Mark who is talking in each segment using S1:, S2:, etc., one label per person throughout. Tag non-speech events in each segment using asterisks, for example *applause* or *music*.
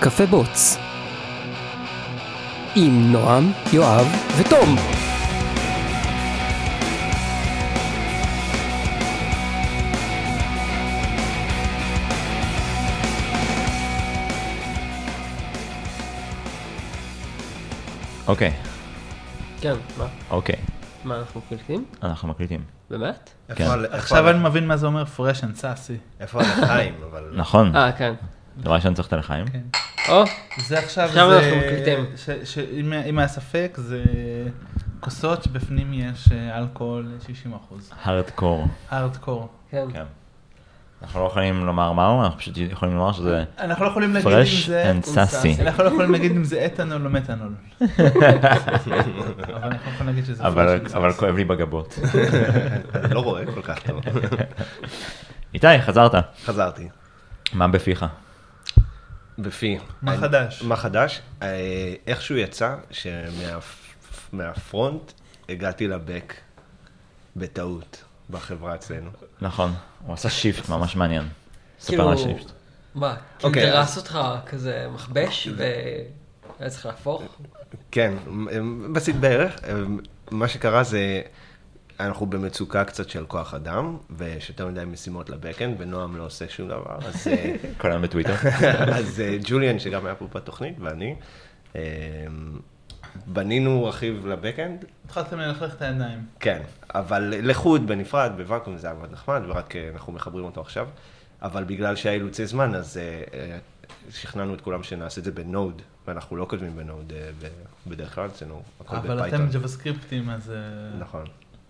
S1: קפה בוץ. עם נועם, יואב ותום.
S2: אוקיי,
S1: כן, מה?
S2: אוקיי,
S1: מה אנחנו קולטים?
S2: אנחנו מקליטים.
S1: באמת?
S2: כן.
S3: איפה ה- איפה
S4: עכשיו
S3: ה-
S4: אני מבין מה זה אומר fresh and sassy.
S3: איפה הלחיים, אבל... לא.
S2: נכון,
S1: אה, כן.
S2: דבר ראשון צריך את הלחיים.
S4: כן.
S1: או,
S4: זה עכשיו,
S1: עכשיו
S4: זה-
S1: אנחנו מקליטים.
S4: ש- ש- אם- אם היה ספק, זה כוסות שבפנים יש אה, אלכוהול 60%.
S2: הארדקור.
S4: הארדקור.
S1: כן.
S2: כן. אנחנו לא יכולים לומר מהו, אנחנו פשוט יכולים לומר שזה...
S4: אנחנו לא יכולים להגיד אם
S2: Fresh
S4: זה...
S2: and *laughs* sassy.
S4: אנחנו לא יכולים להגיד אם זה אתנול או מתנול.
S2: *laughs*
S4: אבל אנחנו יכולים להגיד שזה
S2: אבל
S4: fresh and
S2: אבל
S4: sassy.
S2: כואב לי בגבות.
S3: אני לא רואה כל כך טוב.
S2: איתי, חזרת.
S3: חזרתי.
S2: מה בפיך?
S3: בפי.
S4: מה
S3: אני-
S4: חדש?
S3: מה חדש? אה, איכשהו יצא שמהפרונט הגעתי לבק בטעות בחברה אצלנו.
S2: נכון, הוא עשה שיפט ממש מעניין. ספר
S5: כאילו,
S2: על השיפט.
S5: מה, כאילו
S3: אוקיי,
S5: דרס אותך כזה מכבש והיה צריך להפוך?
S3: כן, הם- בסית בערך. הם- מה שקרה זה, אנחנו במצוקה קצת של כוח אדם, ויש יותר מדי משימות לבקאנד, ונועם לא עושה שום דבר, אז... אה,
S2: כל היום בטוויטר.
S4: כן.
S3: אז אה, ג'וליאן, שגם היה פה בתוכנית, ואני, אה, בנינו רכיב לבקאנד,
S4: התחלתם ללכלך את הידיים.
S3: כן, אבל לחוד, בנפרד, בוואקום זה היה מאוד נחמד, ורק אה, אנחנו מחברים אותו עכשיו, אבל בגלל שהיה אילוצי זמן, אז אה, אה, שכנענו את כולם שנעשה את זה בנוד, ואנחנו לא כותבים בנוד אה, ב- בדרך כלל, אצלנו הכל
S4: אבל
S3: בפייתון.
S4: אתם ג'ווה סקריפטים, אז... אה,
S3: נכון.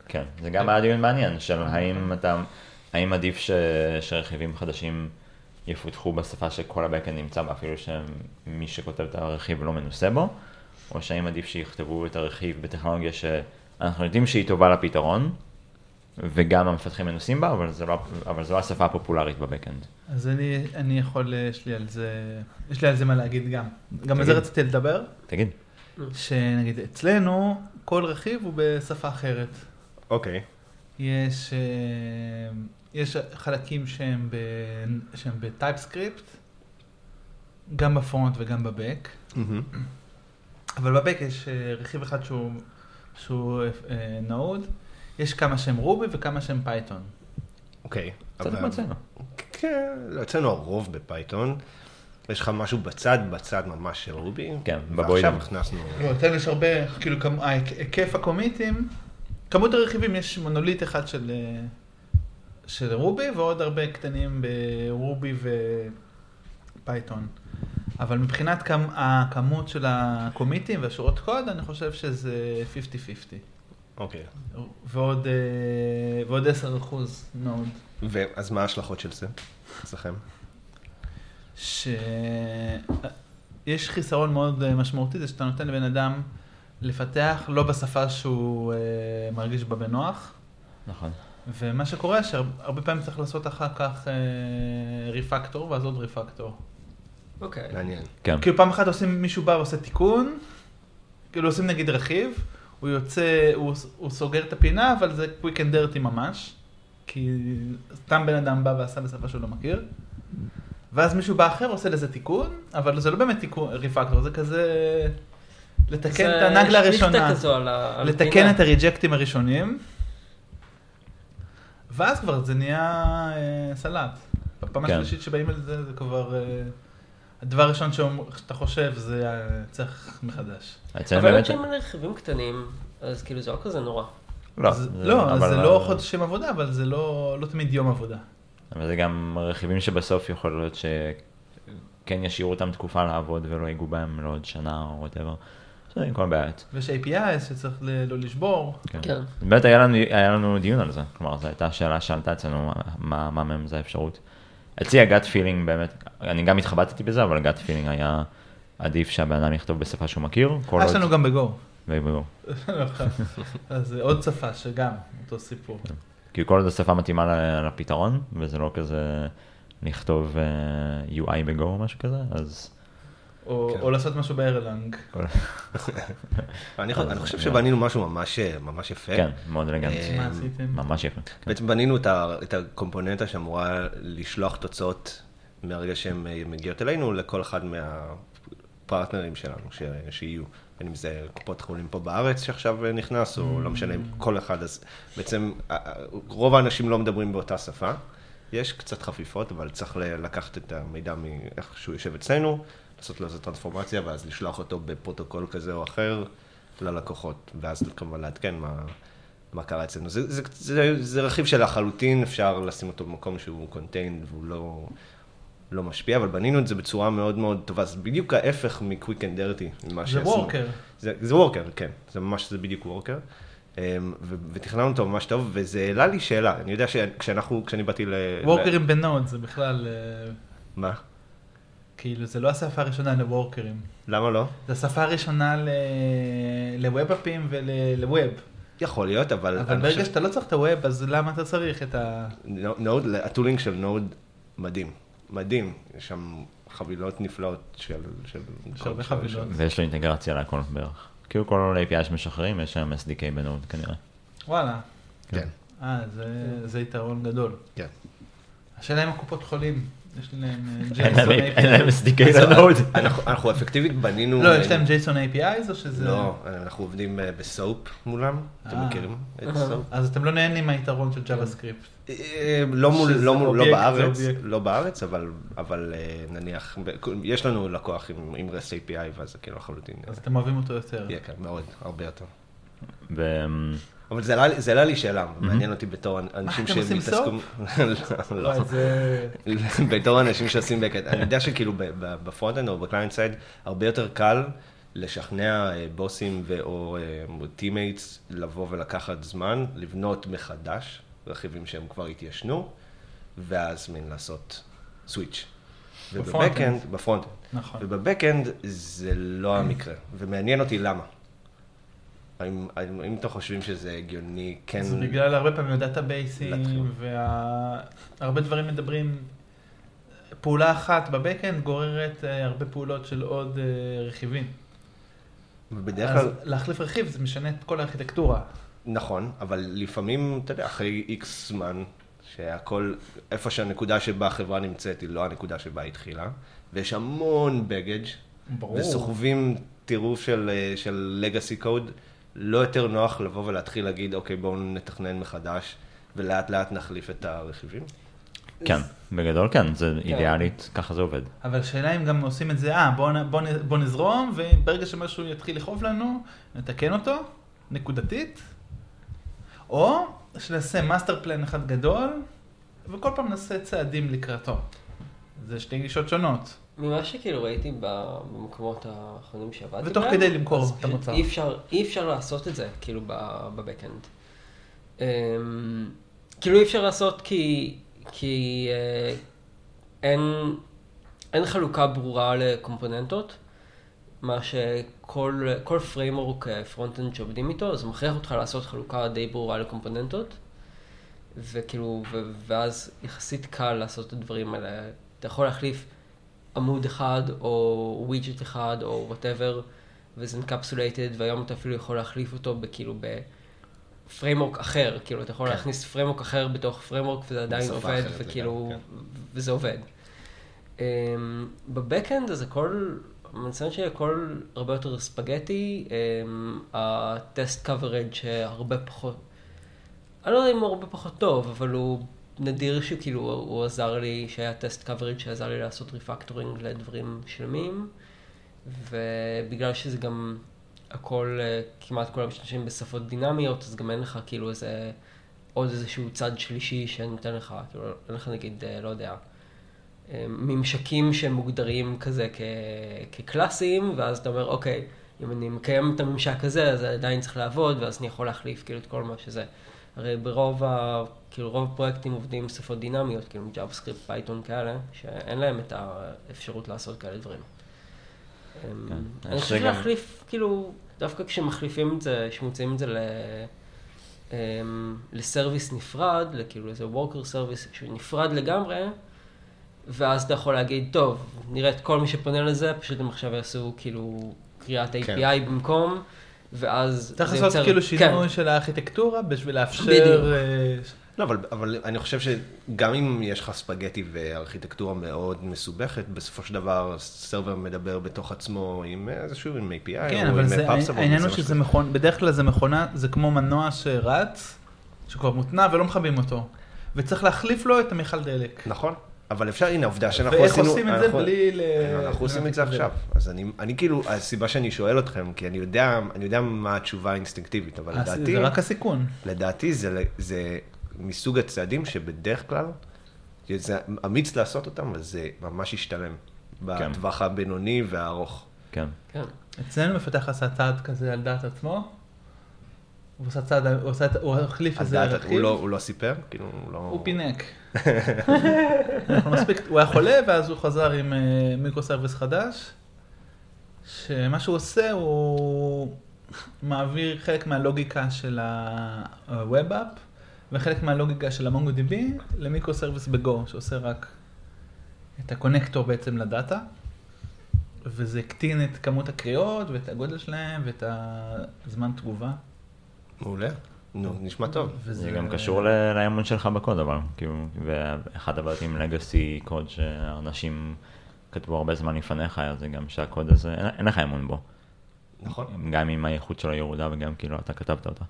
S2: כן, זה גם היה דיון מעניין של האם אתה, האם עדיף ש, שרכיבים חדשים יפותחו בשפה שכל הבקאנד נמצא בה, אפילו שמי שכותב את הרכיב לא מנוסה בו, או שהאם עדיף שיכתבו את הרכיב בטכנולוגיה שאנחנו יודעים שהיא טובה לפתרון, וגם המפתחים מנוסים בה, אבל זו לא, אבל זו לא השפה הפופולרית בבקאנד.
S4: אז אני, אני יכול, אה, יש לי על זה, יש לי על זה מה להגיד גם. גם על זה
S2: תגיד.
S4: רציתי לדבר,
S2: תגיד,
S4: שנגיד אצלנו כל רכיב הוא בשפה אחרת.
S3: אוקיי,
S4: יש, אה, יש חלקים שהם, ב, שהם בטייפסקריפט, גם בפרונט וגם בבק, אבל בבק יש אה, רכיב אחד שהוא, שהוא אה, נוד, יש כמה שהם רובי וכמה שהם פייתון.
S3: אוקיי.
S2: קצת
S3: אבל-
S2: כמו אצלנו.
S3: כן, לא, אצלנו הרוב בפייתון. יש לך משהו בצד, בצד ממש של רובי.
S2: כן,
S3: ועכשיו
S2: בבוידם.
S3: הכנסנו...
S4: לא, אצלנו יש הרבה, כאילו, כמ- ההיקף- היקף הקומיטים, כמות הרכיבים, יש מונוליט אחד של, אה, של רובי, ועוד הרבה קטנים ברובי ופייתון. אבל מבחינת כמ, הכמות של הקומיטים והשורות קוד, אני חושב שזה 50-50.
S3: אוקיי.
S4: ועוד, אה, ועוד 10 אחוז נוד.
S3: ואז מה ההשלכות של זה? אצלכם?
S4: שיש חיסרון מאוד אה, משמעותי, זה שאתה נותן לבן אדם לפתח לא בשפה שהוא אה, מרגיש בה בנוח,
S2: נכון.
S4: ומה שקורה שהרבה פעמים צריך לעשות אחר כך אה, ריפקטור ואז עוד ריפקטור.
S5: אוקיי.
S3: מעניין.
S2: כן,
S4: כאילו פעם אחת עושים, מישהו בא ועושה תיקון, כאילו עושים נגיד רכיב, הוא יוצא, הוא, הוא סוגר את הפינה, אבל זה quick and dirty ממש, כי סתם בן אדם בא ועשה בשפה שהוא לא מכיר, ואז מישהו בא אחר עושה לזה תיקון, אבל זה לא באמת תיקון, ריפקטור, זה כזה לתקן
S5: זה
S4: את הנגלה
S5: שליכטה
S4: הראשונה,
S5: כזו על ה- על
S4: לתקן
S5: הפינה.
S4: את הריג'קטים הראשונים, ואז כבר זה נהיה אה, סלט. בפעם
S2: כן.
S4: השלישית שבאים על זה, זה כבר... אה, הדבר הראשון שאומר- שאתה חושב זה אה, צריך מחדש.
S2: אצלנו
S5: אבל
S2: באמת...
S5: באמת שהם רכיבים קטנים, אז כאילו זה לא כזה נורא.
S2: לא,
S4: אז-
S2: זה-
S4: לא, אז
S2: אבל-
S4: זה לא חודשים עבודה, אבל זה לא לא תמיד יום עבודה.
S2: אבל זה גם רכיבים שבסוף יכול להיות שכן ישאירו אותם תקופה לעבוד ולא ייגעו בהם לעוד שנה או וואטאבר. זה עם כל הבעיות.
S4: ויש API שצריך ל- לא לשבור.
S5: כן.
S2: באמת היה לנו, היה לנו דיון על זה, כלומר זו הייתה שאלה שעלתה אצלנו, מה- מה, מה מהם זה האפשרות. אצלי הגאט פילינג באמת, אני גם התחבטתי בזה, אבל הגאט פילינג היה עדיף שהבן אדם יכתוב בשפה שהוא מכיר, כל
S4: אה, יש
S2: עוד...
S4: לנו גם בגו. *laughs*
S2: ויבואו.
S4: אז זה עוד שפה שגם, אותו סיפור.
S2: כן. כי כל עוד השפה מתאימה ל- לפתרון, וזה לא כזה לכתוב אה, UI בגו או משהו כזה, אז...
S4: או
S3: כן.
S4: או לעשות משהו בארלנג.
S3: אני
S2: אז-
S3: חו- אני חושב שבנינו משהו ממש אה, ממש יפה.
S2: כן, מאוד אלגנטי.
S3: אה,
S4: מה עשיתם?
S2: ממש יפה.
S3: בעצם בנינו את ה- את הקומפוננטה שאמורה לשלוח תוצאות מהרגע שהן אה, מגיעות אלינו לכל אחד מהפרטנרים שלנו ש... שיהיו. בין אם זה קופות חולים פה בארץ שעכשיו אה, נכנס, או לא משנה, כל אחד. אז בעצם אה, אה, רוב האנשים לא מדברים באותה שפה. יש קצת חפיפות, אבל צריך ל- לקחת את המידע מאיך שהוא יושב אצלנו, לעשות לו איזו טרנספורמציה, ואז לשלוח אותו בפרוטוקול כזה או אחר ללקוחות, ואז כמובן לעדכן מה, מה קרה אצלנו. זה, זה, זה, זה רכיב שלחלוטין אפשר לשים אותו במקום שהוא contained והוא לא, לא משפיע, אבל בנינו את זה בצורה מאוד מאוד טובה. זה בדיוק ההפך מ-quick and dirty, ממה
S4: זה
S3: שעשינו.
S4: וורקר.
S3: זה, זה וורקר, כן. זה ממש, זה בדיוק וורקר. אמ, ו- ותכננו אותו ממש טוב, וזה העלה לי שאלה. אני יודע שכשאנחנו, כשאני באתי ל... ל-
S4: וורקרים בנוד זה בכלל, אה,
S3: מה?
S4: כאילו זה לא השפה הראשונה לוורקרים.
S3: למה לא?
S4: זה השפה הראשונה ל- לווב אפים ולווב.
S3: יכול להיות, אבל...
S4: אבל
S3: אני
S4: ברגע
S3: חושב-
S4: שאתה לא צריך את הווב, אז למה אתה צריך את ה...
S3: נו- נוד, הטולינג של נוד מדהים. מדהים. יש שם חבילות נפלאות של... של-
S4: יש הרבה
S3: של-
S4: חבילות.
S2: ויש לו אינטגרציה להכל בערך. כאילו כל API שמשחררים, יש להם SDK בנוד כנראה.
S4: וואלה.
S3: כן,
S4: אה, זה- זה יתרון גדול.
S3: כן.
S4: השאלה אם הקופות חולים, יש להם אה,
S2: אין להם-
S4: JSON
S2: אין להם
S4: API.
S2: SDK לנוד.
S3: אנחנו- אנחנו אפקטיבית בנינו... אה,
S4: לא, יש להם JSON APIs או שזה...
S3: לא, אנחנו עובדים אה, בסאופ מולם. אתם
S4: אה.
S3: מכירים את
S1: אה.
S3: סאופ?
S4: אז אתם לא נהנים מהיתרון של JavaScript.
S3: אה, לא מול,
S4: שזה
S3: לא מול, לא
S4: אובייקט, זה
S3: בארץ,
S4: אובייקט.
S3: לא בארץ, אבל, אבל אה, נניח, ב- יש לנו לקוח עם, עם REST API, ואז זה כאילו לחלוטין, אה,
S4: אז אתם אוהבים אותו יותר.
S3: יהיה כאן מאוד, הרבה יותר.
S2: ו-
S3: אבל זה עלה- זה העלה לי שאלה, מעניין אותי בתור אנשים
S4: אתם עושים
S3: שמתעסקו... לא, *laughs* לא.
S4: וואי, זה...
S3: *laughs* בתור אנשים שעושים בקט, אני יודע שכאילו ב- ב- בפרונט-אנד או בקליינט סייד, הרבה יותר קל לשכנע אה, בוסים ואו טימייטס לבוא ולקחת זמן, לבנות מחדש רכיבים שהם כבר התיישנו, ואז מין לעשות סוויץ'.
S4: בפרונט-אנד.
S3: ובבקאנד, בפרונט-אנד.
S4: נכון.
S3: ובבקאנד זה לא המקרה, ומעניין אותי למה. האם, האם, האם אתם חושבים שזה הגיוני כן...
S4: זה בגלל הרבה פעמים
S3: להתחיל.
S4: הדאטאבייסים, והרבה דברים מדברים, פעולה אחת בבקאנד גוררת אה, הרבה פעולות של עוד אה, רכיבים.
S3: בדרך
S4: אז
S3: כלל...
S4: להחליף רכיב זה משנה את כל הארכיטקטורה.
S3: נכון, אבל לפעמים, אתה יודע, אחרי איקס זמן, שהכל, איפה שהנקודה שבה החברה נמצאת היא לא הנקודה שבה היא התחילה, ויש המון בגאג'
S4: ברור.
S3: וסוחבים טירוף של, אה, של legacy code, לא יותר נוח לבוא ולהתחיל להגיד, אוקיי, בואו נתכנן מחדש, ולאט לאט נחליף את הרכיבים.
S2: כן, בגדול כן, זה אידיאלית, ככה זה עובד.
S4: אבל השאלה אם גם עושים את זה, אה, בוא, נ- בוא, נ- בוא נזרום, וברגע שמשהו יתחיל לכאוב לנו, נתקן אותו, נקודתית, או שנעשה מאסטר פלן אחד גדול, וכל פעם נעשה צעדים לקראתו. זה שתי גישות שונות.
S5: ממה שכאילו ראיתי ב- במקומות האחרונים שעבדתי
S4: ותוך
S5: בהם,
S4: כדי למכור
S5: אז
S4: את
S5: פשוט
S4: המוצר.
S5: אי אפשר, אי אפשר לעשות את זה, כאילו, ב- בבקאנד. אמ, כאילו אי אפשר לעשות כי, כי אה, אין, אין חלוקה ברורה לקומפוננטות, מה שכל כל framework פרונט-אנד שעובדים איתו, זה מכריח אותך לעשות חלוקה די ברורה לקומפוננטות, וכאילו, ו- ואז יחסית קל לעשות את הדברים האלה. אתה יכול להחליף עמוד אחד, או ווידג'ט אחד, או וואטאבר, וזה encapsulated, והיום אתה אפילו יכול להחליף אותו בכאילו ב... פריימורק אחר, כאילו אתה יכול
S3: כן.
S5: להכניס פריימורק אחר בתוך פריימורק וזה עדיין
S3: בשפה
S5: עובד,
S3: אחרת
S5: וכאילו,
S3: לגמרי, כן.
S5: וזה עובד. אמ, בבקאנד אז הכל, המצב שלי הכל הרבה יותר ספגטי, אמ, הטסט קוורג' שהרבה פחות, אני לא יודע אם הוא הרבה פחות טוב, אבל הוא נדיר שכאילו הוא- הוא עזר לי, שהיה טסט קוורג' שעזר לי לעשות ריפקטורינג לדברים שלמים, ובגלל שזה גם הכל, אה, כמעט כל המשתמשים בשפות דינמיות, אז גם אין לך כאילו איזה, עוד איזשהו צד שלישי שנותן לך, כאילו אין לך נגיד, אה, לא יודע. אה, ממשקים שמוגדרים כזה כ- כקלאסיים, ואז אתה אומר, אוקיי, אם אני מקיים את הממשק הזה, אז עדיין צריך לעבוד, ואז אני יכול להחליף כאילו את כל מה שזה. הרי ברוב ה... כאילו רוב הפרויקטים עובדים עם שפות דינמיות, כאילו ג'אווה סקריפט, פייתון כאלה, שאין להם את האפשרות לעשות כאלה דברים. אה,
S2: אני
S5: אני
S2: חושב
S5: חושב
S2: גם-
S5: להחליף, כאילו, דווקא כשמחליפים את זה, כשמוצאים את זה ל... אמ, לסרוויס נפרד, לכאילו איזה וורקר סרוויס שהוא נפרד לגמרי, ואז אתה יכול להגיד, טוב, נראה את כל מי שפונה לזה, פשוט הם עכשיו יעשו כאילו קריאת API
S3: כן.
S5: במקום, ואז
S4: צריך
S5: זה
S4: לעשות
S5: יוצר-
S4: כאילו
S5: כן,
S4: שינוי של הארכיטקטורה בשביל לאפשר
S5: בדיוק.
S4: אה,
S3: לא, אבל, אבל אני חושב שגם אם יש לך ספגטי וארכיטקטורה מאוד מסובכת, בסופו של דבר סרבר מדבר בתוך עצמו עם איזשהו, עם API,
S4: כן,
S3: או
S4: אבל
S3: אה, עם
S4: זה-
S3: pub support,
S4: העניין
S3: וזה
S4: הוא
S3: מה
S4: שזה מכון, בדרך כלל זה מכונה, זה כמו מנוע שרץ, שכבר מותנע ולא מכבים אותו, וצריך להחליף לו את המיכל דלק.
S3: נכון, אבל אפשר, הנה העובדה שאנחנו
S4: ואיך
S3: עשינו...
S4: עושים את זה
S3: אנחנו-
S4: בלי אה, ל...
S3: אנחנו עושים את זה עכשיו,
S4: אה.
S3: אז אני, אני כאילו, הסיבה שאני שואל אתכם, כי אני יודע, אני יודע מה התשובה האינסטינקטיבית, אבל
S4: הס-
S3: לדעתי,
S4: אה, זה רק הסיכון.
S3: לדעתי זה, זה מסוג הצעדים שבדרך כלל, זה אמיץ לעשות אותם, וזה ממש ישתלם,
S4: כן.
S3: בטווח הבינוני והארוך.
S2: כן.
S5: כן.
S4: אצלנו מפתח עשה צעד כזה על דעת עצמו, הוא עשה צעד, הוא עשה את- הוא החליף
S3: אז
S4: איזה
S3: דעת- הוא
S4: רכיב,
S3: לא, הוא לא סיפר? כאילו, הוא לא...
S4: הוא פינק. *laughs* אנחנו מספיק, הוא היה חולה ואז הוא חזר עם אה, מיקרו סרוויס חדש, שמה שהוא עושה הוא מעביר חלק מהלוגיקה של ה-Web App וחלק מהלוגיקה של ה-MongoDB למיקרו סרוויס ב-Go, שעושה רק את הקונקטור בעצם לדאטה, וזה הקטין את כמות הקריאות ואת הגודל שלהם ואת הזמן תגובה.
S3: מעולה. נו, נשמע טוב.
S2: זה גם קשור ל- לאמון שלך בקוד אבל, כאילו, ואחת הבעיות עם לגאסי קוד שאנשים כתבו הרבה זמן לפניך, אז זה גם שהקוד הזה, אין- אין לך אמון בו.
S3: נכון.
S2: גם אם האיכות שלו ירודה וגם כאילו אתה כתבת אותה.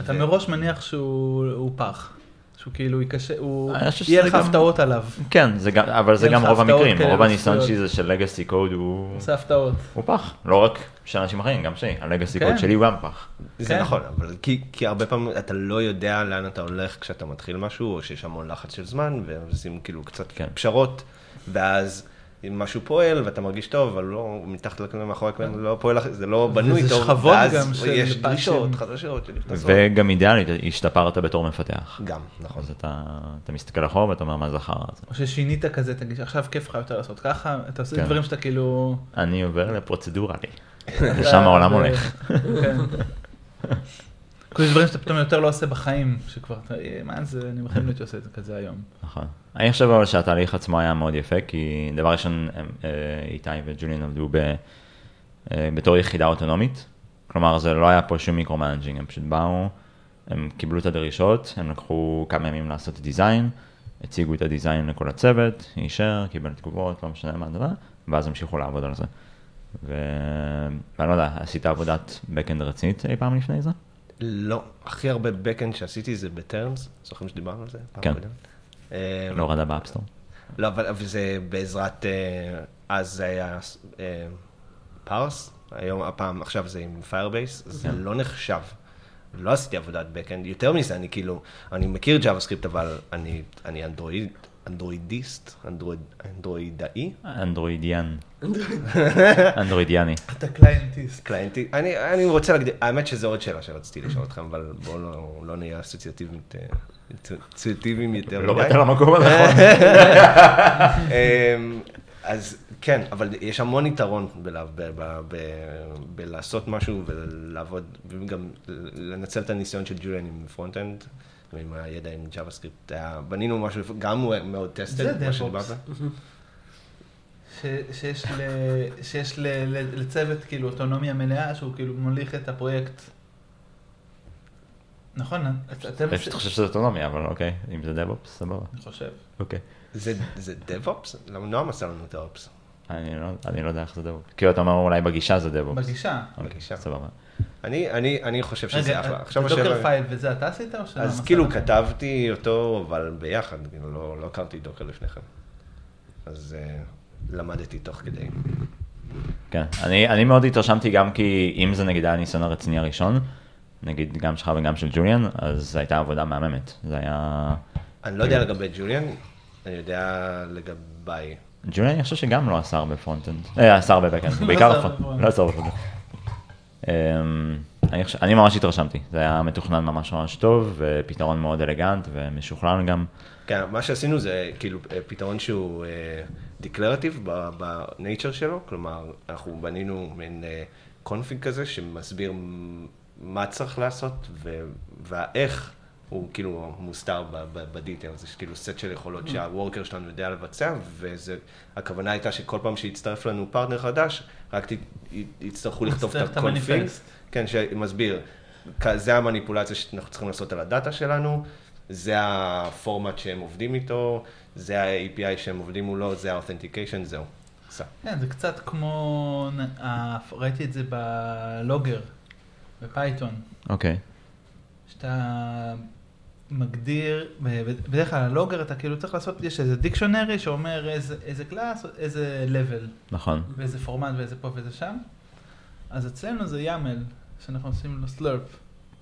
S4: אתה מראש מניח שהוא הוא פח, שהוא כאילו ייקשה, הוא...
S2: אני חושב
S4: יהיה
S2: שזה
S4: לך
S2: גם-
S4: הפתעות עליו,
S2: כן, זה גם, אבל זה
S4: אין
S2: גם
S4: לך
S2: רוב
S4: הפתעות
S2: המקרים,
S4: כאלה לא
S2: רוב הניסיון
S4: מצויות.
S2: שלי זה של לגאסי קוד הוא
S4: עושה הפתעות.
S2: הוא פח, לא רק של אנשים אחרים, גם שלי, הלגאסי
S4: כן.
S2: קוד שלי הוא גם פח.
S3: זה
S4: כן.
S3: נכון, אבל כי, כי הרבה פעמים אתה לא יודע לאן אתה הולך כשאתה מתחיל משהו, או שיש המון לחץ של זמן, ועושים כאילו קצת
S2: כן.
S3: פשרות, ואז אם משהו פועל ואתה מרגיש טוב, אבל לא, מתחת לכלום מאחורי הכלום, לא פועל, אח- זה לא בנוי
S4: וזה
S3: טוב,
S4: שכבות גם
S3: ואז
S4: של
S3: יש
S4: פאצ'ים.
S3: דרישות חדשות שנכנסות.
S2: וגם אידיאלית, השתפרת בתור מפתח.
S3: גם, נכון.
S2: אז אתה אתה מסתכל אחורה ואתה אומר מה זכר הזה.
S4: או ששינית כזה, תגיד, עכשיו כיף לך יותר לעשות ככה, אתה עושה
S2: כן.
S4: דברים שאתה כאילו...
S2: אני עובר לפרוצדורלי.
S4: אתה-
S2: לשם העולם
S4: זה-
S2: הולך.
S4: כן. כאילו יש דברים שאתה פתאום יותר לא עושה בחיים, שכבר, אתה, "אה, מה זה, אני בחיים לא הייתי עושה את זה כזה היום.
S2: נכון. אני חושב אבל שהתהליך עצמו היה מאוד יפה, כי דבר ראשון, הם, אה, איתי וג'ולין עבדו ב, אה, בתור יחידה אוטונומית, כלומר זה לא היה פה שום מיקרו-מנג'ינג, הם פשוט באו, הם קיבלו את הדרישות, הם לקחו כמה ימים לעשות את הדיזיין, הציגו את הדיזיין לכל הצוות, אישר, קיבל תגובות, לא משנה מה הדבר, ואז המשיכו לעבוד על זה. ו... ואני לא יודע, עשית עבודת backend רצינית אי פעם לפני זה?
S3: לא, הכי הרבה backend שעשיתי זה בטרמס, זוכרים שדיברנו על זה? פעם
S2: כן.
S3: קודמת? אה,
S2: לא הורדה באפסטור?
S3: לא, אבל אבל זה בעזרת, אה, אז זה היה אה, פארס, היום, הפעם, עכשיו זה עם פיירבייס, זה לא נחשב. לא עשיתי עבודת backend, יותר מזה, אני כאילו, אני מכיר JavaScript, אבל אני, אני אנדרואיד, אנדרואידיסט, אנדרואיד, אנדרואידאי,
S2: אנדרואידיאן. אנדרואידיאני.
S4: אתה קליינטיסט.
S3: קליינטי, אני, אני רוצה להגדיר, האמת שזו עוד שאלה שרציתי לשאול אתכם, אבל בואו לא, לא נהיה אסוציאטיביים אסוציאטיביים יותר
S2: לא
S3: מדי. אה.
S2: באת למקום הנכון.
S3: *laughs* אמ, אז כן, אבל יש המון יתרון בלה- ב- ב- ב- בלעשות משהו ולעבוד, וגם לנצל את הניסיון של ג'וליאן עם פרונט-אנד, ועם הידע עם ג'אווה סקריפט. בנינו משהו, גם הוא מאוד
S4: זה
S3: טסטד,
S4: DevOps.
S3: מה שדיברת.
S4: שיש, ל, שיש ל, ל, לצוות כאילו אוטונומיה מלאה, שהוא כאילו מוליך את הפרויקט. נכון, את- אתם...
S2: אני פשוט חושב שזה אוטונומיה, אבל אוקיי, אם זה DevOps, סבבה.
S4: אני חושב.
S2: אוקיי.
S3: זה זה DevOps? למה נועם עשה לנו DevOps?
S2: אני לא- אני לא יודע איך זה DevOps. כאילו, אתה אומר אולי בגישה זה DevOps.
S4: בגישה.
S2: אוקיי,
S3: בגישה.
S2: סבבה.
S3: אני- אני אני חושב שזה
S4: רגע, אה,
S3: אחלה.
S4: את
S3: עכשיו
S4: דוקר
S3: השאלה...
S4: פייל וזה אתה עשית או שלא?
S3: אז כאילו כתבתי אותו, אבל ביחד, כאילו לא לא הכרתי דוקר לפני כן. אז אה, למדתי תוך כדי.
S2: כן. אני אני מאוד התרשמתי גם כי אם זה נגיד היה הניסיון הרציני הראשון, נגיד גם שלך וגם של ג'וליאן, אז זו הייתה עבודה מהממת. זה היה...
S3: אני לא יודע לגבי ג'וליאן, אני יודע לגביי.
S2: ג'וליאן אני חושב שגם לא עשה הרבה פרונט-אנד. אה, עשה הרבה בקאנד. הוא בעיקר
S4: עשה הרבה
S2: פרונט.
S4: front-end.
S2: לא עשה הרבה פרונט. אני, חושב- אני ממש התרשמתי, זה היה מתוכנן ממש ממש טוב, ופתרון מאוד אלגנט ומשוכלל גם.
S3: כן, מה שעשינו זה כאילו אה, פתרון שהוא אה, דקלרטיב בנייצ'ר שלו, כלומר, אנחנו בנינו מין קונפיג כזה שמסביר מ- מה צריך לעשות ו- והאיך הוא כאילו מוסתר בדיטל, זה כאילו סט של יכולות שהוורקר שלנו יודע לבצע, והכוונה הייתה שכל פעם שיצטרף לנו פרטנר חדש, רק ת- י- יצטרכו לכתוב
S4: נצטרך
S3: את
S4: את
S3: הקונפיג.
S4: המניפסט.
S3: כן, שמסביר, כ- זה המניפולציה שאנחנו צריכים לעשות על הדאטה שלנו, זה הפורמט שהם עובדים איתו, זה ה-API שהם עובדים מולו, זה ה-authentication, זהו. סע.
S4: כן, זה קצת כמו, נ- ה- ראיתי את זה בלוגר, בפייתון,
S2: אוקיי.
S4: שאתה מגדיר, ב- בדרך כלל הלוגר אתה כאילו צריך לעשות, יש איזה דיקשונרי שאומר איזה, איזה קלאס, איזה לבל,
S2: נכון.
S4: ואיזה פורמט ואיזה פה ואיזה שם. אז אצלנו זה יאמל, שאנחנו עושים לו סלרפ.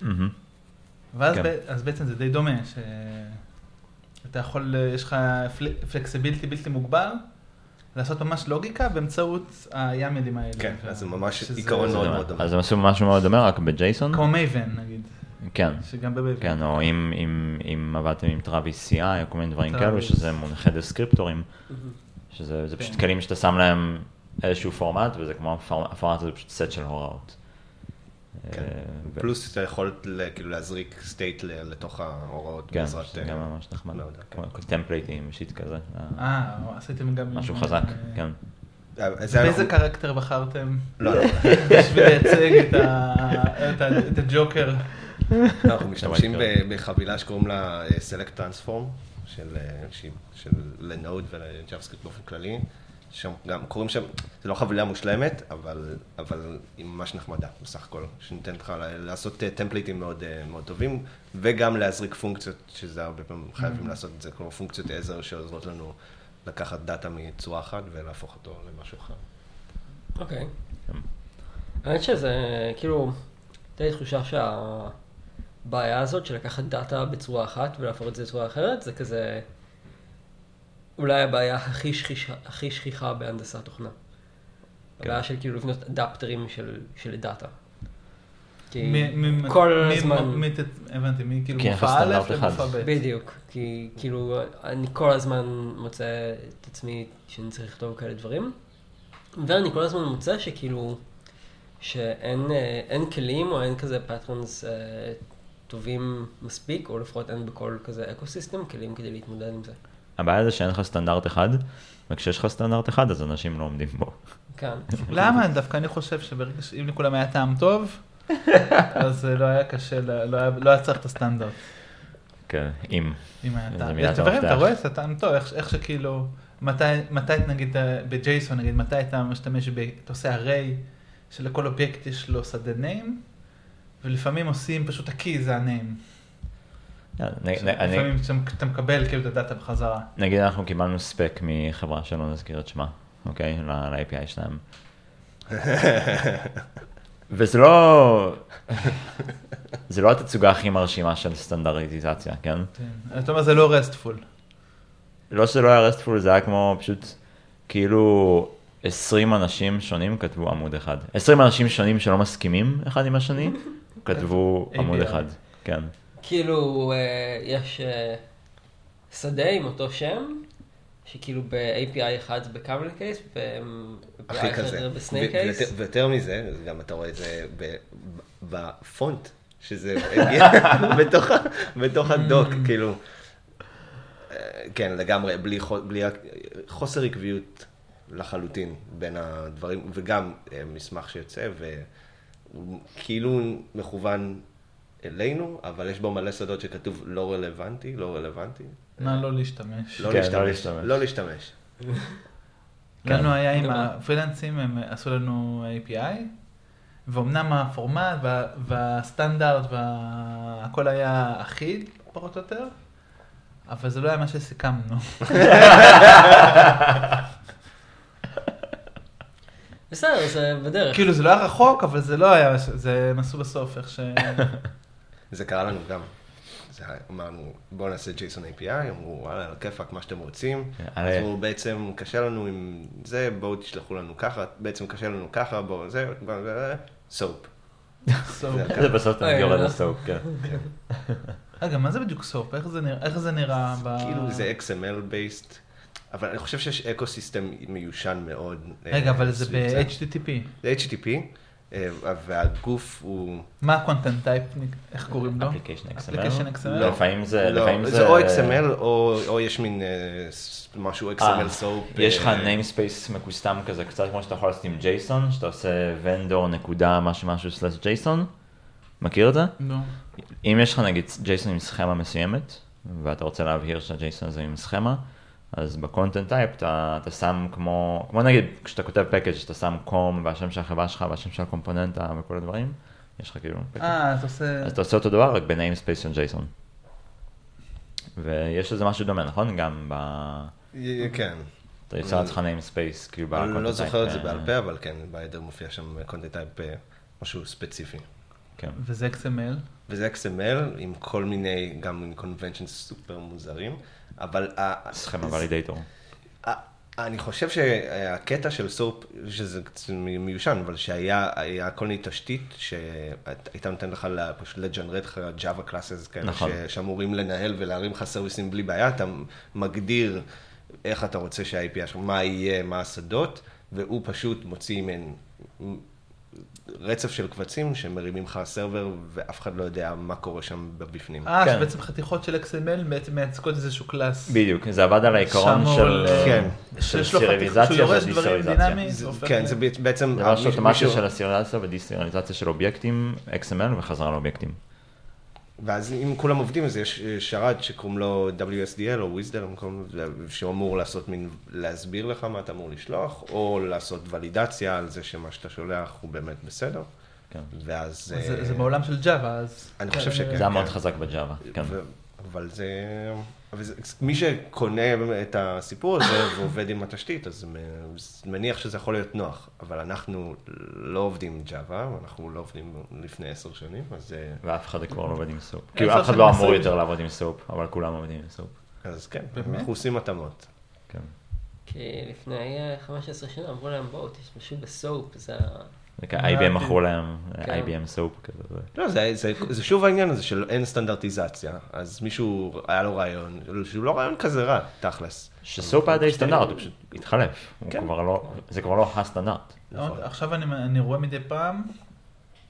S2: מהמם.
S4: ואז
S2: כן.
S4: ב, אז בעצם זה די דומה, ש... אתה יכול, יש לך פל- פלקסיביליטי בלתי מוגבל, לעשות ממש לוגיקה באמצעות היאמלים האלה.
S3: כן, אז זה ממש
S4: שזה-
S3: עיקרון
S4: זה
S3: מאוד
S2: אז
S3: מאוד
S2: הם-
S3: דומה.
S2: אז הם עשו משהו מאוד דומה, רק בג'ייסון?
S4: כמו מייבן נגיד,
S2: כן.
S4: שגם בבייבן.
S2: כן, או אם- אם- אם עבדתם עם טראביס CI, או כל מיני דברים כאלו,
S4: טראביס.
S2: שזה מונחי דסקריפטורים, שזה זה
S4: כן.
S2: פשוט כלים שאתה שם להם איזשהו פורמט, וזה כמו הפור- הפורמט הזה פשוט סט של הוראות.
S3: כן.
S2: אה, ו-
S3: פלוס את היכולת ל- כאילו להזריק סטייט לתוך ההוראות
S2: כן,
S3: בעזרת...
S2: שזה
S3: אה,
S2: גם ממש נחמד.
S3: מאוד, כן.
S2: כמו טמפלייטים, שיט כזה. אה,
S4: אה, עשיתם גם...
S2: משהו
S4: עם,
S2: חזק,
S4: אה,
S2: כן.
S3: אה, זה
S4: באיזה
S3: אנחנו-
S4: קרקטר בחרתם *laughs*
S3: לא, לא.
S4: בשביל לייצג את ה- את ה- את הג'וקר?
S3: אנחנו משתמשים ב- בחבילה שקוראים לה אה, Select Transform, של, אה, שהיא- של לנוד ולג'אווסקריפט באופן כללי. שם גם קוראים שם, זה לא חבילה מושלמת, אבל, אבל היא ממש נחמדה בסך הכל, שניתנת לך ל- לעשות אה, טמפליטים מאוד, אה, מאוד טובים, וגם להזריק פונקציות, שזה הרבה פעמים חייבים לעשות את זה, כמו פונקציות עזר שעוזרות לנו לקחת דאטה מצורה אחת ולהפוך אותו למשהו אחר.
S5: אוקיי. האמת שזה, כאילו, הייתה לי תחושה שהבעיה הזאת של לקחת דאטה בצורה אחת ולהפוך את זה לצורה אחרת, זה כזה אולי הבעיה הכי שכיחה, הכי שכיחה בהנדסת תוכנה. הבעיה של כאילו לבנות אדפטרים של, של דאטה. כי
S4: מי- מי-
S5: כל
S4: מי-
S5: הזמן...
S4: מי- ת- הבנתי, מי כאילו
S2: כן,
S4: מופע א'
S2: סטנדרט אחד.
S4: למופע ב'.
S5: בדיוק, כי כאילו אני כל הזמן מוצא את עצמי שאני צריך לכתוב כאלה דברים, ואני כל הזמן מוצא שכאילו, שאין אה, אין כלים או אין כזה פטרנס אה, טובים מספיק, או לפחות אין בכל כזה אקו סיסטם כלים כדי להתמודד עם זה.
S2: הבעיה זה שאין לך סטנדרט אחד, וכשיש לך סטנדרט אחד, אז אנשים לא עומדים בו.
S5: כן,
S4: למה? דווקא אני חושב שברגע שאם לכולם היה טעם
S2: *laughs*
S4: טוב, אז אה, לא היה קשה, ל- לא היה- לא היה צריך את הסטנדרט.
S2: כן, אם.
S4: אם היה
S2: זה לא
S4: טעם.
S2: מילת
S4: יש דברים, אתה
S2: המפתח.
S4: רואה, זה טעם טוב, איך- איך שכאילו, מתי, מתי נגיד אה, בג'ייסון, נגיד, מתי אתה משתמש, ב- אתה עושה array, שלכל אובייקט יש לו שדה name, ולפעמים עושים פשוט ה-key זה ה-name.
S2: אה, נ- נ- אני-
S4: לפעמים שאתה- אתה מקבל כאילו את הדאטה בחזרה.
S2: נגיד אנחנו קיבלנו ספק מחברה שלא נזכיר את שמה, אוקיי? ל- ל-API שלהם. וזה לא... זה לא התצוגה הכי מרשימה של סטנדרטיזציה, כן?
S4: כן. אתה אומר זה לא רסטפול.
S2: לא שזה לא היה רסטפול, זה היה כמו פשוט כאילו 20 אנשים שונים כתבו עמוד אחד. 20 אנשים שונים שלא מסכימים אחד עם השני,
S5: *laughs*
S2: כתבו
S4: API.
S2: עמוד אחד, כן.
S5: כאילו אה, יש אה, שדה עם אותו שם. שכאילו ב-API אחד זה בקאמל קייס, ב-API
S3: הכי
S5: אחר
S3: כזה.
S5: בסנייק
S3: ו-
S5: קייס.
S3: ויותר- ויותר מזה, אז גם אתה רואה את זה ב- ב- בפונט, שזה הגיע בתוך ה- בתוך הדוק, כאילו. אה, כן, לגמרי, בלי חו- בלי ה- חוסר עקביות לחלוטין בין הדברים, וגם אה, מסמך שיוצא, והוא כאילו מכוון אלינו, אבל יש בו מלא שדות שכתוב לא רלוונטי, לא רלוונטי.
S2: אה.
S4: נא לא להשתמש.
S3: לא
S2: כן, לא
S3: להשתמש.
S2: להשתמש.
S3: לא להשתמש. כן,
S4: לנו היה עם
S5: נורא.
S4: הפרילנסים, הם עשו לנו API, ואומנם הפורמט וה- והסטנדרט והכל היה אחיד, פחות או יותר, אבל זה לא היה מה
S3: *laughs*
S4: שסיכמנו.
S5: בסדר, זה בדרך.
S4: כאילו זה לא היה רחוק, אבל זה לא היה, זה הם עשו בסוף איך ש...
S3: *laughs* זה קרה לנו גם. זה, היה- אמרנו, בואו נעשה JSON API, אמרו, וואלה, על הכיפאק, מה שאתם רוצים.
S2: אה,
S3: אמרו, בעצם קשה לנו עם זה, בואו תשלחו לנו ככה, בעצם קשה לנו ככה, בואו זה, סופ.
S4: סופ.
S2: זה בסוף אתה
S5: אה,
S2: מגיע
S5: אה,
S2: לסוף, כן.
S4: רגע, מה זה בדיוק סופ? איך זה נראה? איך זה נראה ב...
S3: כאילו זה XML based, אבל אני חושב שיש אקו סיסטם מיושן מאוד.
S4: רגע,
S3: אה,
S4: אבל זה
S3: סביב זה.
S4: ב-HTTP.
S3: זה HTTP, אה, והגוף הוא...
S4: מה ה-content type, איך קוראים לו?
S2: אפליקיישן
S4: Application
S2: XML.
S4: XML?
S3: לא.
S2: לפעמים זה,
S3: לא,
S2: לפעמים
S3: זה או XML או או יש מין אה, ס- משהו
S2: אה,
S3: XML סופ.
S2: יש לך
S3: אה,
S2: namespace מקוסטם כזה, קצת כמו שאתה יכול לעשות עם JSON, שאתה עושה vendor נקודה משהו משהו slash JSON, מכיר את זה?
S4: נו.
S2: אם יש לך נגיד JSON עם סכמה מסוימת, ואתה רוצה להבהיר שהJSON זה עם סכמה, אז בקונטנט טייפ אתה, אתה שם כמו, כמו נגיד כשאתה כותב פקאג' אתה שם קום והשם של החברה שלך והשם של הקומפוננטה וכל הדברים, יש לך כאילו, package.
S4: אה, אתה עושה...
S2: אז אתה עושה אותו דבר רק ב-namespace של JSON. ויש לזה משהו דומה, נכון? גם ב...
S3: כן.
S2: אתה יוצר לעצמך namespace, כאילו
S3: אני לא
S2: ב-content
S3: זוכר את
S2: type,
S3: זה
S2: אה,
S3: בעל פה, אבל כן, בעדר מופיע שם קונטנט טייפ אה, משהו ספציפי.
S2: כן.
S4: וזה XML.
S3: וזה XML עם כל מיני, גם עם conventions סופר מוזרים, אבל... ה-
S2: סכמה
S3: *laughs*
S2: ולידייטור.
S3: אה, אני חושב שהקטע של סורפ, שזה קצת מיושן, אבל שהיה היה כל מיני תשתית שהייתה נותנת לך לה- פשוט לג'נרט לך Java classes כאלה,
S2: נכון.
S3: ש- שאמורים לנהל ולהרים לך סרוויסים בלי בעיה, אתה מגדיר איך אתה רוצה שה-API שלך, מה יהיה, מה השדות, והוא פשוט מוציא מהן רצף של קבצים שמרימים לך סרבר ואף אחד לא יודע מה קורה שם בבפנים.
S4: אה,
S2: כן.
S4: שבעצם חתיכות של XML בעצם מייצגות איזשהו קלאס.
S2: בדיוק, זה עבד על העיקרון
S4: שמור,
S2: של
S4: אה,
S3: כן.
S2: של
S4: שיש לו חתיכה, שהוא
S2: סיריליזציה
S4: יורש דברים
S2: ודיסריליזציה.
S4: דינמי.
S3: זה-
S4: הופך
S3: כן,
S4: ל-
S3: זה בעצם...
S2: זה משהו
S3: מישהו-
S2: אוטומציה
S3: מישהו-
S2: של הסיריליזציה ודיסריליזציה של אובייקטים, XML וחזרה לאובייקטים.
S3: ואז אם כולם עובדים, אז יש אה, שרת שקוראים לו WSDL או וויזדר, שאמור אה, לעשות מין, להסביר לך מה אתה אמור לשלוח, או לעשות ולידציה על זה שמה שאתה שולח הוא באמת בסדר.
S2: כן.
S3: ואז...
S4: זה-
S3: אה,
S4: זה בעולם של Java, אז... כן,
S3: אני חושב שכן.
S2: זה היה מאוד חזק בג'אווה, כן.
S3: ו- אבל זה... אבל זה- מי שקונה את הסיפור הזה *coughs* ועובד עם התשתית, אז מ- אז מניח שזה יכול להיות נוח, אבל אנחנו לא עובדים ג'אווה, אנחנו לא עובדים לפני עשר שנים, אז... אה,
S2: ואף אחד כבר לא עובד עם סופ.
S4: כן,
S2: כאילו
S4: זה
S2: אף אחד
S4: של
S2: לא
S4: מעשרים.
S2: אמור יותר לעבוד עם סופ, אבל כולם עובדים עם סופ.
S3: אז כן,
S4: באמת?
S3: אנחנו עושים התאמות.
S2: כן.
S5: כי לפני אה, 15 שנה אמרו להם בואו תשתמשו בסופ, זה ה-
S2: זה
S4: לא
S2: כ- IBM מכרו להם,
S5: כן.
S2: IBM סופ כזה.
S3: לא, זה, זה, זה שוב העניין הזה של אין סטנדרטיזציה. אז מישהו, היה לו רעיון, שהוא לא רעיון כזה רע, תכלס.
S2: שסופ היה די סטנדרט, הוא פשוט התחלף. הוא
S3: אוקיי. כן.
S2: כבר לא- זה כבר לא הסטנדרט.
S3: נכון.
S4: עכשיו אני, אני רואה מדי פעם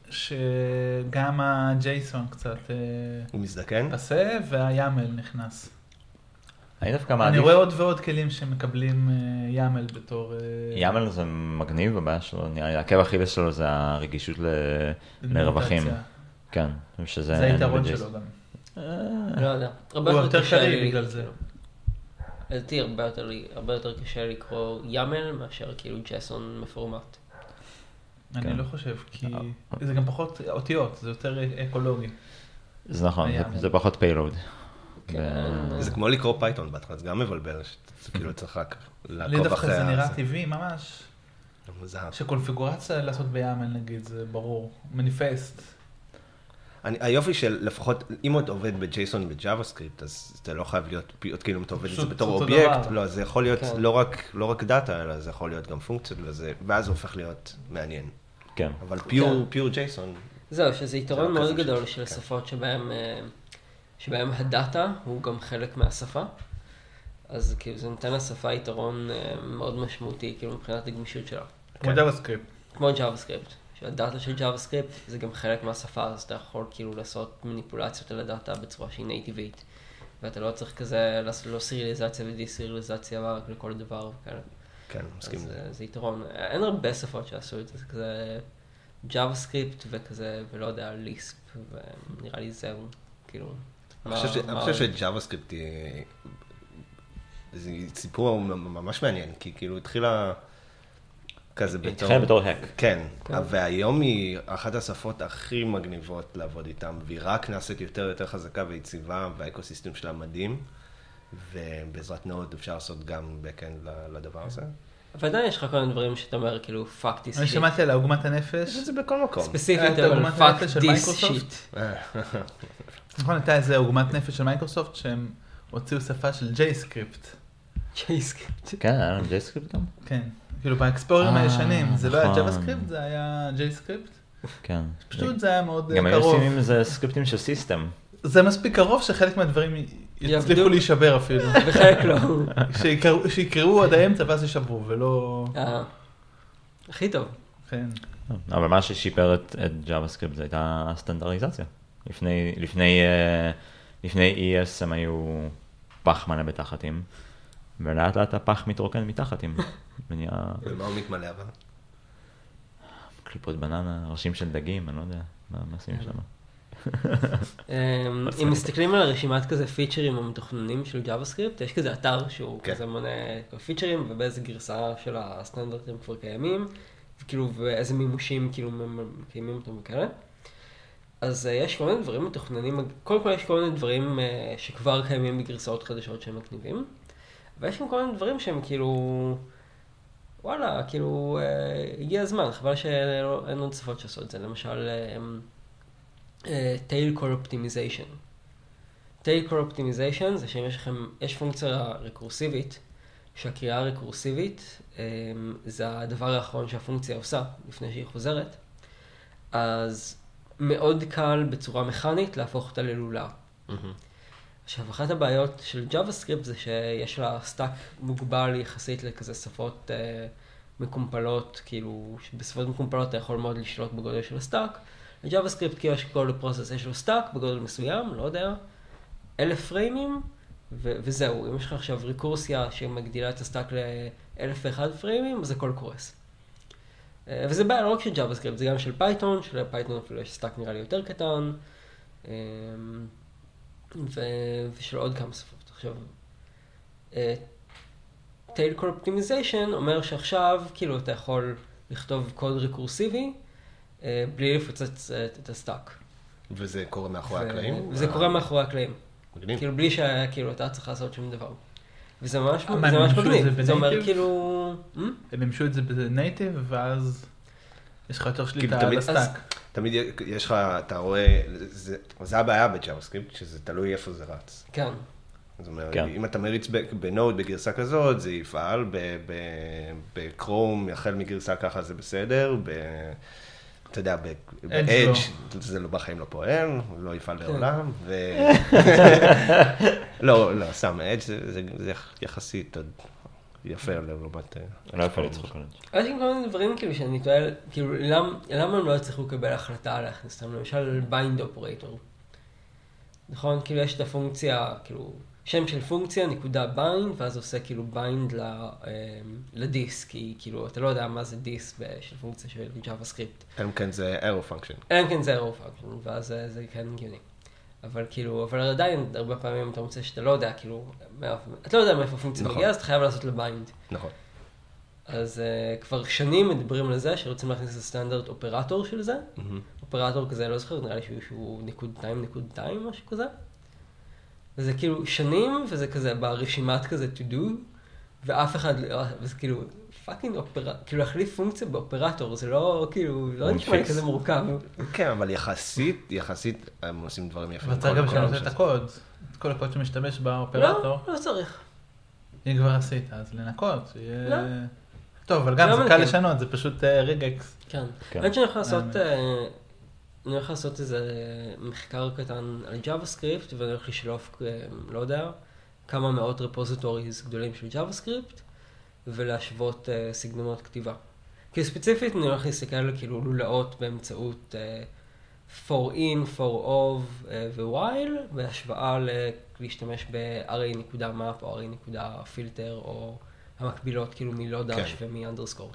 S4: שגם ה-JSON קצת אה,
S3: הוא מזדקן.
S4: פסה וה-YAML נכנס.
S2: אני דווקא
S4: אני
S2: מעדיף,
S4: רואה עוד ועוד כלים שמקבלים אה, YAML בתור... אה,
S2: יאמל זה מגניב, הבעיה שלו, נראה לי, העקב אכילס שלו זה הרגישות ל- לרווחים.
S4: נוטציה.
S2: כן, שזה...
S4: זה היתרון
S2: ב-JSON.
S4: שלו גם.
S2: אה.
S5: לא יודע. הרבה
S4: הוא
S5: יותר
S4: יותר
S5: קשה
S4: קריא
S5: לי-
S4: בגלל זה.
S5: לדעתי הרבה יותר לי- הרבה יותר קשה לקרוא YAML מאשר כאילו JSON מפורמט.
S4: אני
S2: כן. אה,
S4: לא חושב, כי זה גם פחות אותיות, זה יותר אה, אקולוגי.
S2: זה נכון, זה-
S4: ה-YAML.
S2: זה פחות פיילוד.
S5: כן,
S2: ו-
S3: זה כמו לקרוא פייתון בהתחלה, זה גם מבלבל, שאתה כאילו צריך רק
S4: לי
S3: לעקוב
S4: דווקא
S3: אחרי
S4: זה נראה
S3: הזה.
S4: טבעי ממש,
S3: זה מוזר.
S4: שקונפיגורציה לעשות ב-YAML נגיד, זה ברור. מניפסט.
S3: אני, היופי של לפחות, אם אתה עובד בג'ייסון בג'אווה סקריפט, אז זה לא חייב להיות, פי- עוד כאילו אם אתה עובד את זה
S4: פשוט
S3: בתור
S4: אותו
S3: אובייקט,
S4: דבר.
S3: לא, זה יכול להיות
S5: כן.
S3: לא רק- לא רק דאטה, אלא זה יכול להיות גם פונקציות, וזה- ואז זה הופך להיות מעניין.
S2: כן.
S3: אבל פיור- פיור ג'ייסון,
S5: זהו, שזה יתרון
S3: זה לא
S5: מאוד
S3: כזה
S5: גדול
S3: משהו,
S5: של
S3: כן.
S5: שפות שבהם, אה, שבהם הדאטה הוא גם חלק מהשפה. אז כאילו זה נותן לשפה יתרון אה, מאוד משמעותי, כאילו מבחינת הגמישות שלה.
S4: כמו JavaScript.
S5: כמו JavaScript, שהדאטה של JavaScript זה גם חלק מהשפה, אז אתה יכול כאילו לעשות מניפולציות על הדאטה בצורה שהיא נייטיבית. ואתה לא צריך כזה לעשות לא סיריליזציה ודיסיריליזציה רק לכל דבר וכאלה.
S3: כן, מסכים.
S5: אז
S3: לזה.
S5: אה, זה יתרון. אין הרבה שפות שעשו את זה, זה כזה JavaScript וכזה, ולא יודע, ליספ, ונראה לי זהו, כאילו.
S3: אני חושב ש- אני חושב שג'אווה סקריפט היא... זה סיפור ממש מעניין, כי כאילו התחילה כזה בתור...
S2: התחילה בתור hack.
S3: כן, והיום היא אחת השפות הכי מגניבות לעבוד איתן, והיא רק נעשית יותר יותר חזקה ויציבה, והאקוסיסטם שלה מדהים, ובעזרת נאות אפשר לעשות גם backend ל- לדבר הזה.
S5: אבל עדיין יש לך כל מיני דברים שאתה אומר, כאילו, fuck this
S4: אני
S5: shit.
S4: שמעתי על עוגמת הנפש.
S3: זה בכל מקום. אה,
S5: ספציפית,
S4: אה, את
S5: אבל
S4: עוגמת
S5: fuck
S4: הנפש של
S5: this
S4: מייקרוסופט?
S5: shit. *laughs*
S4: נכון, הייתה איזה עוגמת נפש של מייקרוסופט שהם הוציאו שפה של JScript.
S5: JavaScript.
S2: כן, היה לנו JavaScript גם?
S4: כן. כאילו באקספלורים
S2: אה,
S4: הישנים, זה לא היה
S2: נכון.
S4: JavaScript, זה היה JScript.
S2: כן.
S4: פשוט זה היה מאוד
S2: גם
S4: אה,
S2: היו
S4: קרוב.
S2: עושים עם זה סקריפטים של סיסטם.
S4: זה מספיק קרוב שחלק מהדברים
S5: יעבדו.
S4: יצליחו להישבר אפילו.
S5: וחלק לא.
S4: שיקראו- שיקראו עד האמצע ואז יישברו, ולא...
S5: אה, הכי טוב.
S4: כן.
S2: אבל מה ששיפר את, את JavaScript זה הייתה הסטנדרטיזציה. לפני, לפני, אה, לפני ES הם היו פח מלא בתחתים, ולאט לאט הפח מתרוקן מתחתים. *laughs* ונהיה
S3: ומה הוא מתמלא אבל? כן. *laughs*
S2: קליפות בננה, ראשים של דגים, אני לא יודע, מה מה עושים שם?
S5: אמ, אם מסתכלים על רשימת כזה פיצ'רים המתוכננים של ג'אווה סקריפט, יש כזה אתר שהוא
S3: כן.
S5: כזה מונה פיצ'רים ובאיזה גרסה של הסטנדרטים כבר קיימים, וכאילו ואיזה מימושים כאילו מ- מקיימים אותם וכאלה. אז אה, יש כל מיני דברים מתוכננים, קודם כל יש כל מיני דברים אה, שכבר קיימים בגרסאות חדשות שהם מגניבים, ויש גם כל מיני דברים שהם כאילו, וואלה, כאילו, אה, הגיע הזמן, חבל שאין עוד שפות שעשו את זה, למשל, אה, טייל קול אופטימיזיישן. טייל קול אופטימיזיישן זה שאם יש לכם, יש פונקציה רקורסיבית, שהקריאה הרקורסיבית um, זה הדבר האחרון שהפונקציה עושה לפני שהיא חוזרת, אז מאוד קל בצורה מכנית להפוך אותה ללולאה. עכשיו, אחת הבעיות של JavaScript זה שיש לה סטאק מוגבל יחסית לכזה שפות אה, מקומפלות, כאילו, בשפות מקומפלות אתה יכול מאוד לשלוט בגודל של הסטאק. ל-JavaScript כאילו יש כל פרוסס, יש לו סטאק בגודל מסוים, לא יודע, אלף פריימים, ו- וזהו. אם יש לך עכשיו ריקורסיה שמגדילה את הסטאק לאלף ואחד פריימים, אז הכל קורס. אה, וזה בעיה לא רק של JavaScript, זה גם של פייתון, שלפייתון אפילו יש סטאק נראה לי יותר קטן. אה, ו... ושל עוד כמה שפות. עכשיו, טייל קול אופטימיזיישן אומר שעכשיו, כאילו, אתה יכול לכתוב קוד רקורסיבי אה, בלי לפוצץ אה, את הסטאק.
S3: וזה קורה מאחורי הקלעים?
S5: וזה
S3: אה,
S5: קורה מאחורי הקלעים.
S3: מגניב.
S5: כאילו, בלי שכאילו, אתה צריך לעשות שום דבר. וזה ממש
S4: אה, מה,
S5: זה
S4: הם
S5: ממש
S4: מימשו את
S5: מגניב.
S4: זה
S5: זה אומר
S4: בנייטיב?
S5: כאילו... Hmm?
S4: הם מימשו את זה בנייטיב, ואז יש לך יותר שליטה
S3: כאילו,
S4: על
S3: תמיד-
S4: הסטאק.
S3: תמיד יש לך, אתה רואה, זה- זה הבעיה בג'אווסקריפט, שזה תלוי איפה זה רץ.
S5: כן.
S3: זאת אומרת,
S2: כן.
S3: אם אתה מריץ ב- בנוד בגרסה כזאת, זה יפעל, ב- ב- בקרום, החל מגרסה ככה זה בסדר, ב... אתה יודע,
S4: לא.
S3: ב-edge, זה לא בחיים לא פועל, הוא לא יפעל לעולם, ו...
S2: *laughs*
S3: לא, לא, סתם, edge זה- זה- זה יחסית עוד יפה לעומת... אה,
S2: לא יפה לצחוק עליהם.
S5: יש גם כל מיני דברים כאילו שאני תוהה, כאילו למ, למה הם לא הצליחו לקבל החלטה להכניס אותם, למשל ביינד אופרטור. נכון? כאילו יש את הפונקציה, כאילו, שם של פונקציה, נקודה ביינד, ואז עושה כאילו ביינד ל, אמ, לדיסק, כי כאילו אתה לא יודע מה זה דיסק ב- של פונקציה של ג'אווה סקריפט.
S3: אלא אם כן זה arrow function.
S5: אלא אם כן זה אירו פאנקשן, ואז זה, זה כן הגיוני. אבל כאילו, אבל עדיין הרבה פעמים אתה מוצא שאתה לא יודע, כאילו, מאיפה- אתה לא יודע מאיפה הפונקציה
S3: נכון.
S5: מגיעה, אז אתה חייב לעשות לה ביינד.
S3: נכון.
S5: אז uh, כבר שנים מדברים על זה שרוצים להכניס לסטנדרט אופרטור של זה. אופרטור כזה, לא זוכר, נראה לי שהוא, שהוא נקודתיים נקודתיים, משהו כזה. וזה כאילו שנים, וזה כזה ברשימת כזה to do, ואף אחד, לא- וזה כאילו פאקינג אופרטור, כאילו להחליף פונקציה באופרטור, זה לא כאילו, לא נשמע לי
S2: fix.
S5: כזה מורכב.
S3: כן, אבל יחסית, יחסית, הם עושים דברים יפים.
S4: אבל צריך גם
S3: כל- כל
S4: לשנות
S3: הנושא
S4: את
S3: הזה.
S4: הקוד, את כל הקוד שמשתמש באופרטור.
S5: לא, לא צריך.
S4: אם כבר עשית, אז לנקות. שיהיה-
S5: לא.
S4: טוב, אבל גם
S5: לא
S4: זה
S5: מנקים.
S4: קל לשנות, זה פשוט אה, ריגקס.
S5: כן.
S2: כן.
S5: האמת שאני יכול לעשות,
S4: אה,
S5: אה, אני הולך לעשות איזה מחקר קטן על ג'אווה סקריפט, ואני הולך לשלוף, אה, לא יודע, כמה מאות רפוזיטוריז גדולים של ג'אווה סקריפט, ולהשוות אה, סגנונות כתיבה. כאילו ספציפית אני הולך להסתכל על כאילו לולאות באמצעות אה, for in, for of אה, ו-while, בהשוואה ל- להשתמש ב-ra.map או ra.filter או המקבילות כאילו מלא-דש
S3: כן.
S5: ומאנדרסקור.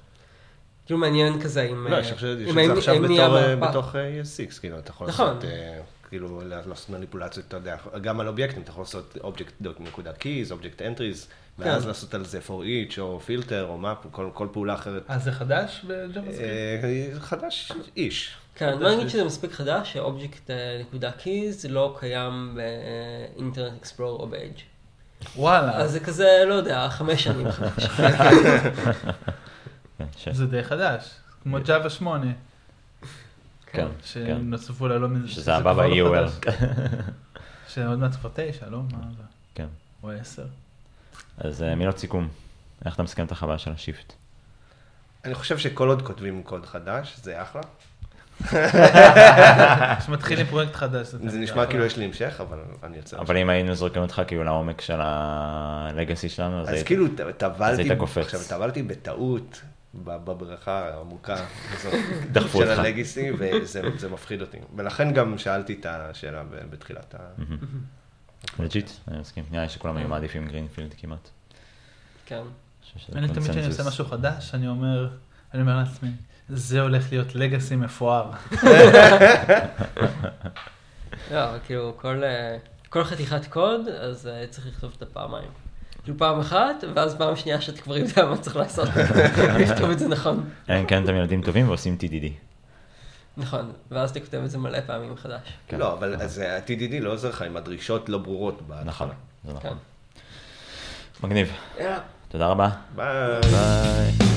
S5: כאילו מעניין כזה אם...
S3: לא,
S5: אה,
S3: יש עכשיו-
S5: אם
S3: יש את זה
S5: האם-
S3: עכשיו
S5: האם נהיה
S3: בתור, אה,
S5: מפה.
S3: בתוך אה, ES6, כאילו, אתה יכול
S5: נכון.
S3: לעשות, אה, כאילו, לעשות מניפולציות, אתה יודע, גם על אובייקטים, אתה יכול לעשות object dot נקודה keys, object entries, ואז
S5: כן.
S3: לעשות על זה for each, או filter, או map, או כל- כל פעולה אחרת.
S4: אז זה חדש בג'אווה סקריפט?
S3: אה, חדש איש.
S5: כן, בוא נגיד שזה מספיק חדש, שאובייקט נקודה קיז לא קיים באינטרנט אקספלור או ב-edge.
S4: וואלה,
S5: אז זה כזה, לא יודע, חמש
S3: *laughs*
S5: שנים חדש.
S2: כן, ש-
S4: זה די חדש. כמו ג'אווה 8,
S2: כן, כן.
S4: שנוספו לה לא מזה.
S2: שזה הבא ב-EOL.
S4: שעוד מעט כבר 9, לא? מה זה?
S2: *laughs* כן.
S4: או 10.
S2: אז אה, מילות סיכום. איך אתה מסכם את החוויה של השיפט?
S3: אני חושב שכל עוד כותבים קוד חדש, זה אחלה.
S4: שמתחיל עם פרויקט חדש.
S3: זה
S4: תמיד
S3: נשמע
S4: אחלה.
S3: כאילו יש לי המשך, אבל אני יוצא.
S2: אבל אם היינו זורקים אותך כאילו לעומק של הלגאסי שלנו, אז
S3: אז
S2: היית-
S3: כאילו
S2: אז
S3: טבלתי,
S2: היית קופץ.
S3: עכשיו טבלתי בטעות בב- בבריכה העמוקה הזאת
S2: *laughs* דחפו
S3: של
S2: אותך.
S3: הלגיסי, וזה זה מפחיד אותי. ולכן גם שאלתי את השאלה ב- בתחילת ה...
S2: לג'יט, אני מסכים. נראה לי שכולם היו מעדיפים גרינפילד כמעט.
S5: כן.
S2: אני חושב שזה
S4: אני תמיד כשאני
S2: קונצנזוס.
S4: עושה משהו חדש, אני אומר, אני אומר לעצמי, זה הולך להיות לגאסי מפואר.
S5: לא, כאילו, כל, אה, כל חתיכת קוד, אז אה, צריך לכתוב אותה פעמיים. כאילו פעם אחת, ואז פעם שנייה שאתה כבר יודע מה צריך
S3: *laughs*
S5: לעשות. *laughs* לכתוב את זה נכון.
S2: אלא אם כן אתם ילדים טובים ועושים TDD.
S5: נכון, ואז אתה כותב את זה מלא פעמים מחדש.
S2: כן.
S3: לא, אבל אז ה-TDD לא עוזר לך אם הדרישות לא ברורות. בהתחלה.
S2: נכון, זה נכון.
S5: כן.
S2: מגניב.
S5: יאללה.
S2: תודה רבה.
S3: ביי.
S2: ביי.